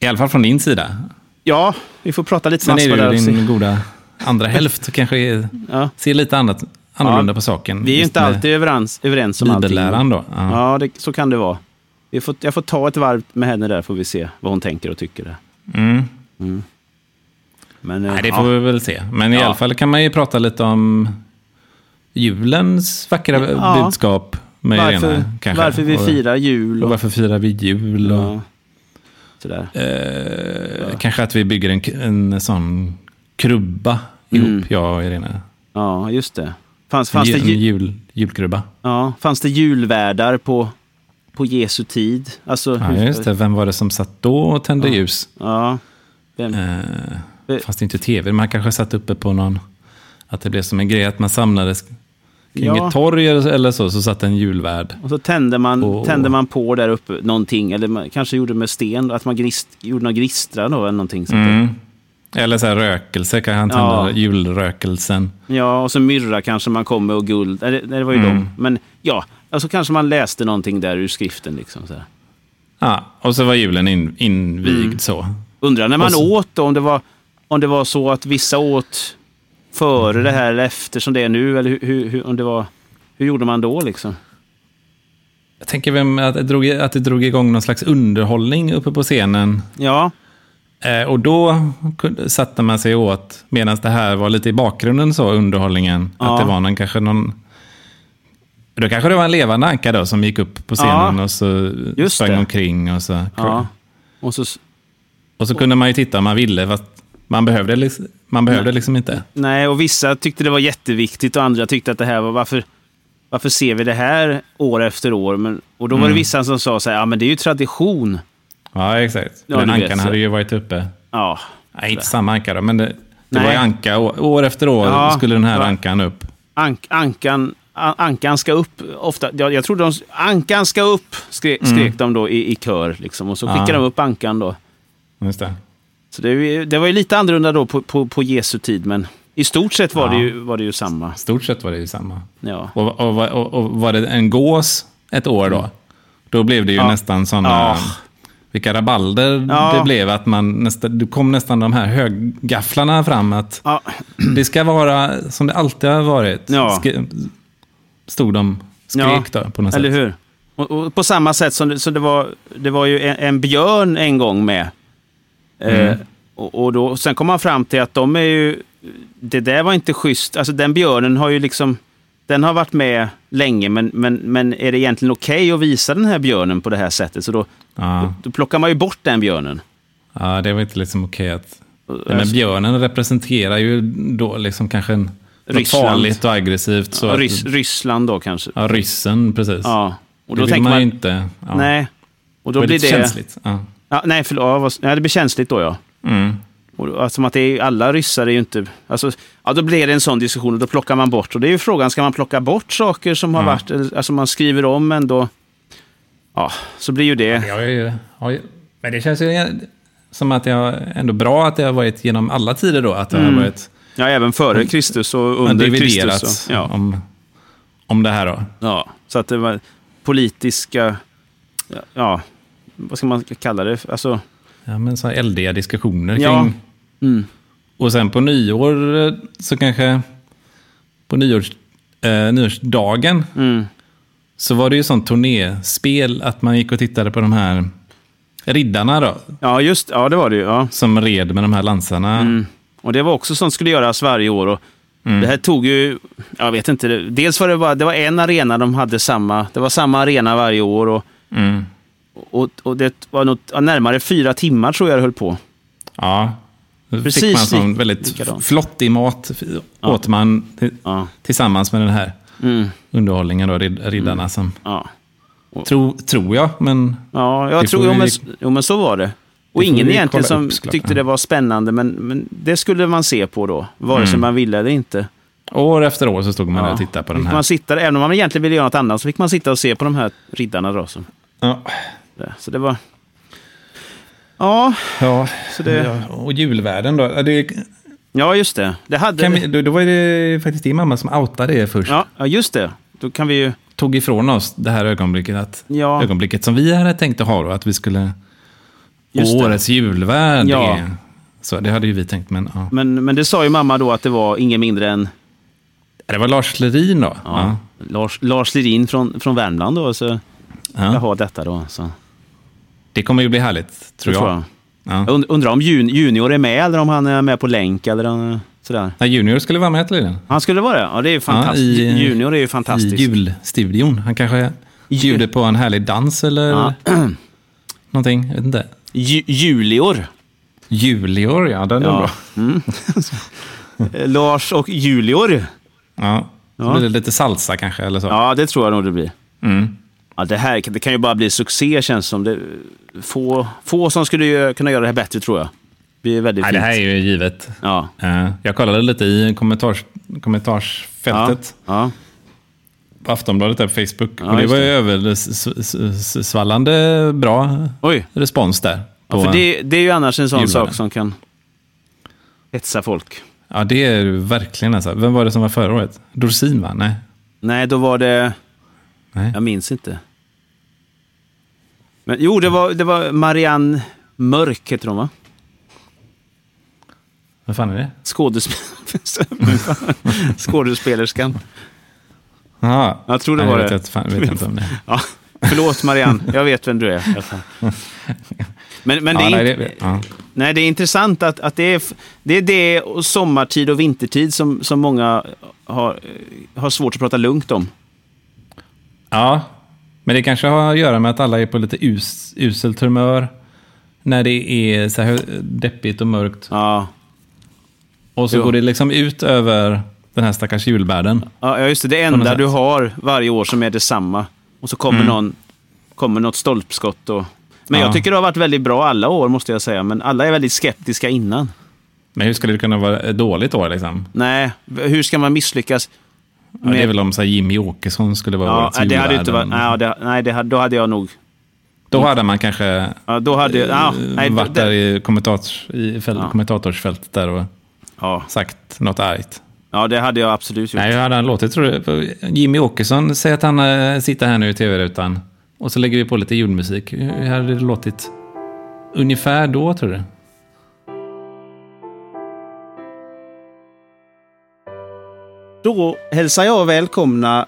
Speaker 1: I alla fall från din sida.
Speaker 2: Ja, vi får prata lite
Speaker 1: Sen är det
Speaker 2: massor där.
Speaker 1: ju
Speaker 2: och se.
Speaker 1: din goda andra hälft och kanske är,
Speaker 2: Ja.
Speaker 1: ser lite annat, annorlunda
Speaker 2: Ja,
Speaker 1: på saken.
Speaker 2: Vi är ju
Speaker 1: Just
Speaker 2: inte
Speaker 1: med
Speaker 2: alltid överens, överens om allting.
Speaker 1: Bibelläran då. Ja.
Speaker 2: Ja, det, så kan det vara. Vi får, jag får ta ett varv med henne där, får vi se vad hon tänker och tycker. Där.
Speaker 1: Mm.
Speaker 2: Men, eh,
Speaker 1: Nej, det får vi
Speaker 2: ja.
Speaker 1: väl se. Men i
Speaker 2: Ja.
Speaker 1: alla fall kan man ju prata lite om julens vackra
Speaker 2: Ja.
Speaker 1: budskap med
Speaker 2: varför,
Speaker 1: Irene. Kanske.
Speaker 2: varför vi
Speaker 1: Och-
Speaker 2: firar jul
Speaker 1: Och
Speaker 2: och,
Speaker 1: varför firar vi jul? Och,
Speaker 2: ja, sådär.
Speaker 1: eh, Kanske att vi bygger en, en sån krubba ihop, jag och Irene.
Speaker 2: Ja, just det. Fanns,
Speaker 1: En
Speaker 2: fanns
Speaker 1: ju,
Speaker 2: Mm. det
Speaker 1: en
Speaker 2: ju,
Speaker 1: jul, julkrubba.
Speaker 2: Ja, fanns det julvärdar på, på Jesu tid? Alltså,
Speaker 1: Ja,
Speaker 2: hur-
Speaker 1: just det. Vem var det som satt då och tände ljus?
Speaker 2: Ja, vem,
Speaker 1: Eh,
Speaker 2: Eh.
Speaker 1: fast inte tv. Man kanske satt uppe på någon... Att det blev som en grej att man samlades kring
Speaker 2: Ja.
Speaker 1: ett torg eller så, så satt en julvärd.
Speaker 2: och så tände man,
Speaker 1: Åh.
Speaker 2: tände man på där uppe någonting, eller man, kanske gjorde med sten, att man grist, gjorde några gnistra då eller någonting. Sånt där.
Speaker 1: Mm. Eller så här rökelse, kan han tända
Speaker 2: Ja.
Speaker 1: julrökelsen.
Speaker 2: Ja, och så myrra kanske man kom med och guld. Nej, det, nej, det var ju dem. Men ja, alltså kanske man läste någonting där ur skriften. Liksom, så här.
Speaker 1: Ja, och så var julen in, invigd
Speaker 2: Mm.
Speaker 1: så.
Speaker 2: Undrar när man
Speaker 1: Och så-
Speaker 2: åt då, om det, var, om det var så att vissa åt före det här eller efter som det är nu, eller hur, hur, hur, om det var, hur gjorde man då liksom?
Speaker 1: Jag tänker vem, att, det drog, att det drog igång någon slags underhållning uppe på scenen.
Speaker 2: Ja,
Speaker 1: Eh, och då kunde, satte man sig åt, medan det här var lite i bakgrunden så, underhållningen.
Speaker 2: Ja.
Speaker 1: Att det var någon, kanske någon Då kanske det var en levande anka då som gick upp på scenen
Speaker 2: Ja,
Speaker 1: och så
Speaker 2: just
Speaker 1: sprang
Speaker 2: det.
Speaker 1: omkring och så.
Speaker 2: Ja. Och så,
Speaker 1: Och så kunde man ju titta om man ville, fast man behövde, liksom- man behövde liksom inte.
Speaker 2: nej, och vissa tyckte det var jätteviktigt och andra tyckte att det här var varför, varför ser vi det här år efter år? Men, och då var det vissa som sa så här, ja men det är ju tradition.
Speaker 1: Ja, exakt.
Speaker 2: Ja,
Speaker 1: Den
Speaker 2: du vet,
Speaker 1: ankan
Speaker 2: så.
Speaker 1: hade ju varit uppe.
Speaker 2: Ja,
Speaker 1: Nej, inte samma anka då, men det, det
Speaker 2: Nej.
Speaker 1: var ju anka. Å- År efter år
Speaker 2: Ja,
Speaker 1: skulle den här
Speaker 2: va.
Speaker 1: ankan upp.
Speaker 2: ank, ankan, an, ankan ska upp. Ofta, jag, jag trodde de, ankan ska upp, skrek, skrek de då i, i kör. Liksom, och så skickade
Speaker 1: Mm. Ja.
Speaker 2: de upp ankan då.
Speaker 1: Just det.
Speaker 2: Så det, är ju- det var ju lite annorlunda då på, på, på Jesu tid, men i stort sett var,
Speaker 1: Ja.
Speaker 2: det, ju, var det ju samma.
Speaker 1: stort sett var det ju samma.
Speaker 2: Ja.
Speaker 1: Och, och, var- och, och var det en gås ett år då, då blev det ju
Speaker 2: Ja.
Speaker 1: nästan sådana...
Speaker 2: Ja.
Speaker 1: Vilka rabalder
Speaker 2: Ja.
Speaker 1: det blev. att man nästa, Du kom nästan de här höggafflarna fram. att
Speaker 2: Ja,
Speaker 1: Det ska vara som det alltid har varit.
Speaker 2: Ja.
Speaker 1: Sk- stod de
Speaker 2: ja.
Speaker 1: skrek då på något
Speaker 2: Eller
Speaker 1: sätt.
Speaker 2: hur? Och, och på samma sätt som det, så det, var, det var ju en, en björn en gång med.
Speaker 1: Mm.
Speaker 2: Eh, och, och då, sen kom man fram till att de är ju... Det där var inte schysst. Alltså den björnen har ju liksom... Den har varit med länge, men, men, men är det egentligen okej att visa den här björnen på det här sättet? Så då,
Speaker 1: Ja.
Speaker 2: då plockar man ju bort den björnen.
Speaker 1: ja, det var inte liksom okej att... Nej, men björnen representerar ju då liksom kanske en, något
Speaker 2: Ryssland.
Speaker 1: farligt och aggressivt. Så
Speaker 2: Ryss,
Speaker 1: att,
Speaker 2: Ryssland då kanske.
Speaker 1: ja, ryssen, precis.
Speaker 2: Ja. Och
Speaker 1: det
Speaker 2: då
Speaker 1: vill
Speaker 2: tänker
Speaker 1: man
Speaker 2: man...
Speaker 1: ju inte. Ja.
Speaker 2: Nej. Och då
Speaker 1: det
Speaker 2: blir
Speaker 1: lite
Speaker 2: det...
Speaker 1: känsligt. Ja.
Speaker 2: Ja, nej, förlåt. Ja, vad- nej, det blir känsligt då, ja. Och, då- alltså, att det är, alla ryssar är ju inte... Alltså, ja, då blir det en sån diskussion och då plockar man bort. Och det är ju frågan, ska man plocka bort saker som har varit... eller- Alltså man skriver om ändå. Ja, så blir ju det...
Speaker 1: Jag är, har ju- men det känns ju som att jag ändå bra att det har varit genom alla tider då. Att det
Speaker 2: Mm.
Speaker 1: har varit
Speaker 2: Ja, även före Kristus och
Speaker 1: man
Speaker 2: under
Speaker 1: dividerat
Speaker 2: Kristus. Och, ja,
Speaker 1: om, om det här då.
Speaker 2: ja, så att det var politiska... Ja, vad ska man kalla det? Alltså,
Speaker 1: Ja, men så här eldiga diskussioner kring...
Speaker 2: Ja. Mm.
Speaker 1: Och sen på nyår eh, så kanske... På nyårs, eh, nyårsdagen
Speaker 2: Mm.
Speaker 1: så var det ju sånt turnéspel att man gick och tittade på de här riddarna då.
Speaker 2: ja, just... Ja, det var det ju. Ja.
Speaker 1: Som red med de här lansarna.
Speaker 2: Mm. Och det var också sånt skulle göras varje år. Och
Speaker 1: Mm.
Speaker 2: Det här tog ju, jag vet inte, det- dels var det bara, det var en arena de hade samma, det var samma arena varje år och,
Speaker 1: Mm.
Speaker 2: och, och det var nog ja, närmare fyra timmar tror jag det höll på.
Speaker 1: Ja. Då fick
Speaker 2: Precis
Speaker 1: man sån
Speaker 2: lik-
Speaker 1: väldigt
Speaker 2: likadant.
Speaker 1: flottig mat. f- Åt man ti-
Speaker 2: Ja, Mm.
Speaker 1: tillsammans med den här underhållningen då, rid- riddarna som...
Speaker 2: ja.
Speaker 1: Tro, tror jag, men...
Speaker 2: Mm. ja
Speaker 1: Det
Speaker 2: jag tror,
Speaker 1: får
Speaker 2: jo
Speaker 1: vi-
Speaker 2: men, jo men så var det. Och
Speaker 1: Det får
Speaker 2: ingen
Speaker 1: vi
Speaker 2: egentligen
Speaker 1: kolla
Speaker 2: som
Speaker 1: upp såklart,
Speaker 2: tyckte
Speaker 1: ja.
Speaker 2: det var spännande, men, men det skulle man se på då, vare sig man ville eller inte.
Speaker 1: År efter år så stod man där
Speaker 2: Ja.
Speaker 1: och tittade Mm. på
Speaker 2: Fick
Speaker 1: den här.
Speaker 2: Man sitta, även om man egentligen ville göra något annat så fick man sitta och se på de här riddarna. Då, så.
Speaker 1: Ja.
Speaker 2: så det var... Ja,
Speaker 1: Ja.
Speaker 2: så det...
Speaker 1: Ja, Och julvärden då? Ja, Det,
Speaker 2: Ja, just det. Det hade...
Speaker 1: kan vi, då, då var det faktiskt din mamma som outade er först.
Speaker 2: Ja, ja, just det. Då kan vi ju...
Speaker 1: Tog ifrån oss det här ögonblicket, att,
Speaker 2: Ja.
Speaker 1: ögonblicket som vi hade tänkt att ha då. Att vi skulle...
Speaker 2: Just det.
Speaker 1: årets julvärd.
Speaker 2: Ja.
Speaker 1: är- Så det hade ju vi tänkt, men ja.
Speaker 2: Men, men det sa ju mamma då att det var ingen mindre än
Speaker 1: Det var Lars Lerin då.
Speaker 2: ja, Lars, Lars Lerin från, från Värmland då. Så
Speaker 1: Ja.
Speaker 2: jag har detta då. Så,
Speaker 1: Det kommer ju bli härligt, tror jag.
Speaker 2: tror jag.
Speaker 1: Ja.
Speaker 2: Jag und- undrar om jun, Junior är med eller om han är med på länk eller eh, sådär.
Speaker 1: Nej, Junior skulle vara med tydligen.
Speaker 2: Han skulle vara det? Ja, det är ju fantastiskt.
Speaker 1: i- eh,
Speaker 2: junior är ju
Speaker 1: I
Speaker 2: fantastisk.
Speaker 1: julstudion. Han kanske bjuder på en härlig dans eller
Speaker 2: Ja.
Speaker 1: någonting. Jag vet inte.
Speaker 2: Ju, julior.
Speaker 1: Julior, ja. Den är bra.
Speaker 2: Eh, Lars och Julior.
Speaker 1: Ja. Så
Speaker 2: Ja.
Speaker 1: blir det lite salsa kanske, eller så.
Speaker 2: Ja, det tror jag nog det blir.
Speaker 1: Mm.
Speaker 2: Ja, det här det kan ju bara bli succé känns som. Det, få, få som skulle ju kunna göra det här bättre tror jag. Det blir väldigt
Speaker 1: Nej,
Speaker 2: fint.
Speaker 1: det här är ju givet.
Speaker 2: Ja.
Speaker 1: Eh, Jag kollade lite i kommentars, kommentarsfältet
Speaker 2: Ja.
Speaker 1: på Aftonbladet där på Facebook.
Speaker 2: Ja,
Speaker 1: och det
Speaker 2: just
Speaker 1: var ju
Speaker 2: det.
Speaker 1: översvallande bra
Speaker 2: Oj.
Speaker 1: respons där.
Speaker 2: Ja, för
Speaker 1: på-
Speaker 2: det, det är ju annars en sån
Speaker 1: Julen.
Speaker 2: sak som kan hetsa folk.
Speaker 1: Ja, det är ju verkligen alltså. Vem var det som var förra året? Dorsin, va? Nej.
Speaker 2: Nej, då var det...
Speaker 1: Nej.
Speaker 2: Jag minns inte. Men, jo, det var, det var Marianne Mörk, heter hon va?
Speaker 1: Vad fan är det?
Speaker 2: Skådesp... Skådespelerskan.
Speaker 1: Jaha.
Speaker 2: Jag tror det
Speaker 1: Nej,
Speaker 2: var
Speaker 1: jag vet
Speaker 2: det.
Speaker 1: Inte, fan, jag vet inte om det är.
Speaker 2: Ja. Förlåt Marianne, jag vet vem du är. Men, men det,
Speaker 1: Ja,
Speaker 2: är
Speaker 1: nej,
Speaker 2: inte,
Speaker 1: det, ja.
Speaker 2: Nej, det är intressant att, att det, är, f- det är det och sommartid och vintertid som, som många har, eh, har svårt att prata lugnt om.
Speaker 1: Ja, men det kanske har att göra med att alla är på lite us, uselt humör när det är så här deppigt och mörkt.
Speaker 2: Ja.
Speaker 1: Och så
Speaker 2: Jo.
Speaker 1: går det liksom ut över den här stackars julbärden.
Speaker 2: ja, just det. Det
Speaker 1: något
Speaker 2: enda
Speaker 1: sätt. Mm.
Speaker 2: du har varje år som är detsamma. Och så kommer, någon, kommer något stolpskott. Och... Men jag
Speaker 1: Ja.
Speaker 2: tycker det har varit väldigt bra alla år, måste jag säga. Men alla är väldigt skeptiska innan.
Speaker 1: Men hur skulle det kunna vara ett dåligt år liksom?
Speaker 2: Nej, hur ska man misslyckas?
Speaker 1: Ja, det är
Speaker 2: med-
Speaker 1: väl om så här, Jimmy Åkesson skulle vara
Speaker 2: Ja,
Speaker 1: årets
Speaker 2: det hade inte varit,
Speaker 1: julvärden.
Speaker 2: nej, ja, det, nej det, hade- då hade jag nog...
Speaker 1: Då hade man kanske
Speaker 2: Ja, då hade, ja, nej,
Speaker 1: varit
Speaker 2: det-
Speaker 1: Eh, där i, kommentators, i fäl,
Speaker 2: Ja.
Speaker 1: kommentatorsfältet där och
Speaker 2: Ja,
Speaker 1: sagt något argt.
Speaker 2: ja, det hade jag absolut gjort.
Speaker 1: Nej, hur hade han låtit tror du? Jimmy Åkesson, säg att han eh, sitter här nu i tv-rutan. Och så lägger vi på lite julmusik. Hur hade det låtit? Ungefär då, tror du?
Speaker 2: Då hälsar jag välkomna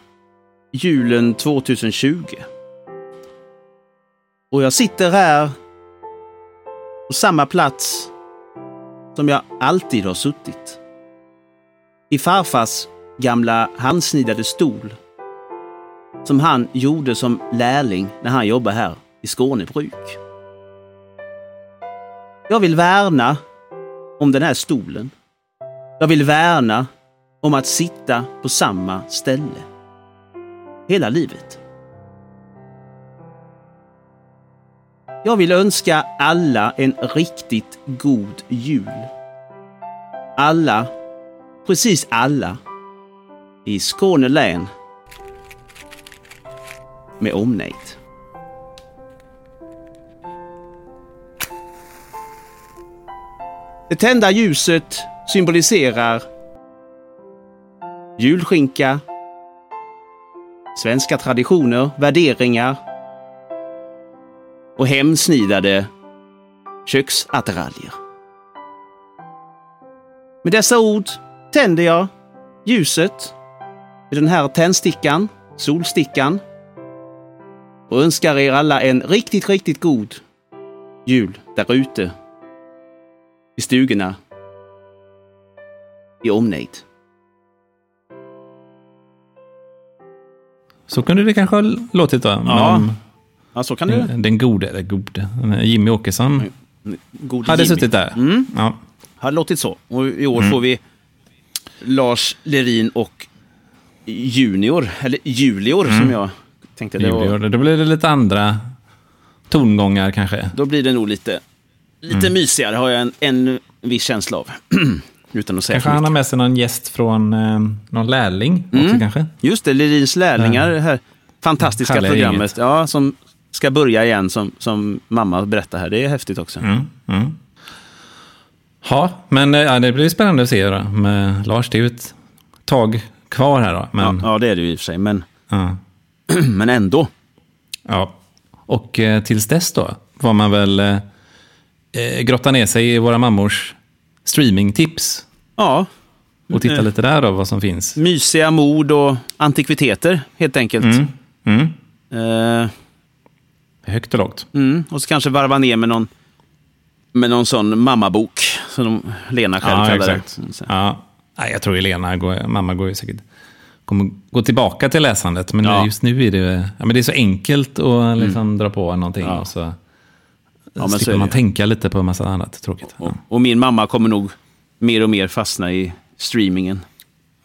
Speaker 2: julen 2020. Och jag sitter här på samma plats som jag alltid har suttit. I farfars gamla handsnidade stol som han gjorde som lärling när han jobbade här i Skånebruk. Jag vill värna om den här stolen. Jag vill värna om att sitta på samma ställe. Hela livet. Jag vill önska alla en riktigt god jul. Alla, precis alla, i Skåne län med omnejd. Det tända ljuset symboliserar julskinka, svenska traditioner, värderingar och hemsnidade köksattiraljer. Med dessa ord tänder jag ljuset i den här tändstickan, solstickan och önskar er alla en riktigt, riktigt god jul där ute i stugorna i omnejd.
Speaker 1: Så kunde det kanske ha låtit då.
Speaker 2: Ja,
Speaker 1: Men
Speaker 2: Ja, så kan
Speaker 1: om den, den gode, eller gode, Jimmy Åkesson
Speaker 2: God
Speaker 1: hade
Speaker 2: Mm. Jimmy.
Speaker 1: suttit Mm. där.
Speaker 2: Mm.
Speaker 1: Ja.
Speaker 2: Hade låtit så. Och i år får vi Lars Lerin och Junior, eller Julior som jag tänkte. Det var,
Speaker 1: Mm. Julior. Då blir det lite andra tongångar kanske.
Speaker 2: då blir det nog lite, lite
Speaker 1: Mm.
Speaker 2: mysigare har jag en, en viss känsla av. Utan att säga
Speaker 1: Kanske
Speaker 2: för
Speaker 1: han har
Speaker 2: mycket.
Speaker 1: med sig någon gäst från eh, någon lärling
Speaker 2: Mm.
Speaker 1: också kanske.
Speaker 2: Just det, Lerins lärlingar, det här fantastiska
Speaker 1: Härliga
Speaker 2: programmet. Ja, som ska börja igen som, som mamma berättar här. Det är häftigt också.
Speaker 1: Mm. Ja, men eh, ja, det blir spännande att se då. Med Lars, det är ju ett tag kvar här då. Men,
Speaker 2: Ja, ja, det är det ju i och för sig, men,
Speaker 1: ja.
Speaker 2: men ändå.
Speaker 1: Ja, och eh, tills dess då var man väl eh, eh, grotta ner sig i våra mammors streamingtips
Speaker 2: Ja,
Speaker 1: och titta
Speaker 2: Mm.
Speaker 1: lite där då vad som finns.
Speaker 2: mysiga mord och antikviteter helt enkelt.
Speaker 1: Mm.
Speaker 2: Eh,
Speaker 1: Högt och lågt.
Speaker 2: Mm, och så kanske varva ner med någon, med någon sån mammabok, som de, Lena själv
Speaker 1: Ja,
Speaker 2: kallar
Speaker 1: exakt.
Speaker 2: det. Mm,
Speaker 1: Ja. Nej, jag tror Elena, går, mamma går ju säkert kommer gå tillbaka till läsandet, men
Speaker 2: Ja. Mm.
Speaker 1: just nu är det, ja, men det är så enkelt att liksom dra på någonting och så
Speaker 2: men så är
Speaker 1: slipper
Speaker 2: det
Speaker 1: man
Speaker 2: ju.
Speaker 1: tänka lite på en massa annat tråkigt.
Speaker 2: Och, och min mamma kommer nog mer och mer fastna i streamingen.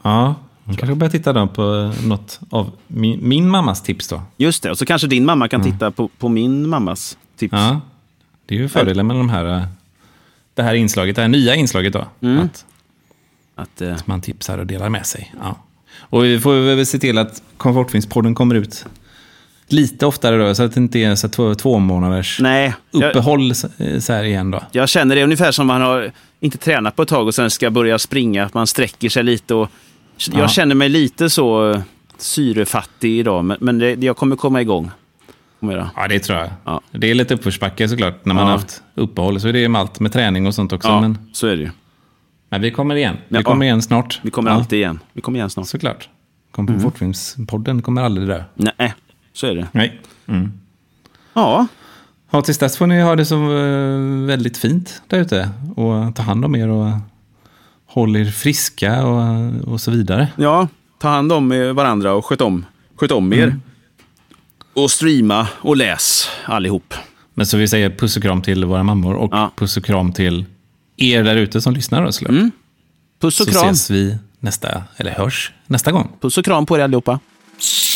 Speaker 1: Ja, hon kanske börjar titta då på eh, något av min, min mammas tips då.
Speaker 2: Just det, och så kanske din mamma kan titta på, på min mammas tips.
Speaker 1: Mm. Ja, det är ju fördelen med de här, eh, det här inslaget, det här nya inslaget då.
Speaker 2: Mm.
Speaker 1: Att
Speaker 2: Att, eh,
Speaker 1: man tipsar och delar med sig. Ja. Och vi får väl se till att Komfortfilmspodden kommer ut lite oftare då, så att det inte är så här två, två månaders
Speaker 2: nej, jag,
Speaker 1: uppehåll så- eh, så här igen då.
Speaker 2: jag känner det ungefär som man har inte tränat på ett tag och sen ska börja springa, att man sträcker sig lite. Och, jag
Speaker 1: Ja.
Speaker 2: känner mig lite så eh, syrefattig idag, men, men det, jag kommer komma igång. Kommer jag.
Speaker 1: Ja, det tror jag.
Speaker 2: Ja.
Speaker 1: Det är lite uppförsbacke såklart när man
Speaker 2: Ja.
Speaker 1: har haft uppehåll. Så är det ju med allt med träning och sånt också.
Speaker 2: Ja,
Speaker 1: Men,
Speaker 2: så är det ju.
Speaker 1: men vi kommer igen. Vi
Speaker 2: Ja.
Speaker 1: kommer igen snart.
Speaker 2: Vi kommer
Speaker 1: ja,
Speaker 2: alltid igen. Vi kommer igen snart.
Speaker 1: Såklart.
Speaker 2: Mm.
Speaker 1: Komfortfilmspodden kommer aldrig dö.
Speaker 2: Nej, så är det.
Speaker 1: Nej.
Speaker 2: Ja,
Speaker 1: Ja, tills dess får ni ha det så eh, väldigt fint där ute. Och ta hand om er och håll er friska och, och så vidare.
Speaker 2: ja. ta hand om eh, varandra och sköt om, sköt om er. Och streama och läs allihop.
Speaker 1: Men så vi säger puss och kram till våra mammor och
Speaker 2: Ja. Mm,
Speaker 1: puss och kram till er där ute som lyssnar då, såklart.
Speaker 2: Puss
Speaker 1: Så
Speaker 2: och kram.
Speaker 1: ses vi nästa, eller hörs nästa gång.
Speaker 2: Puss och kram på er allihopa.
Speaker 5: Shh.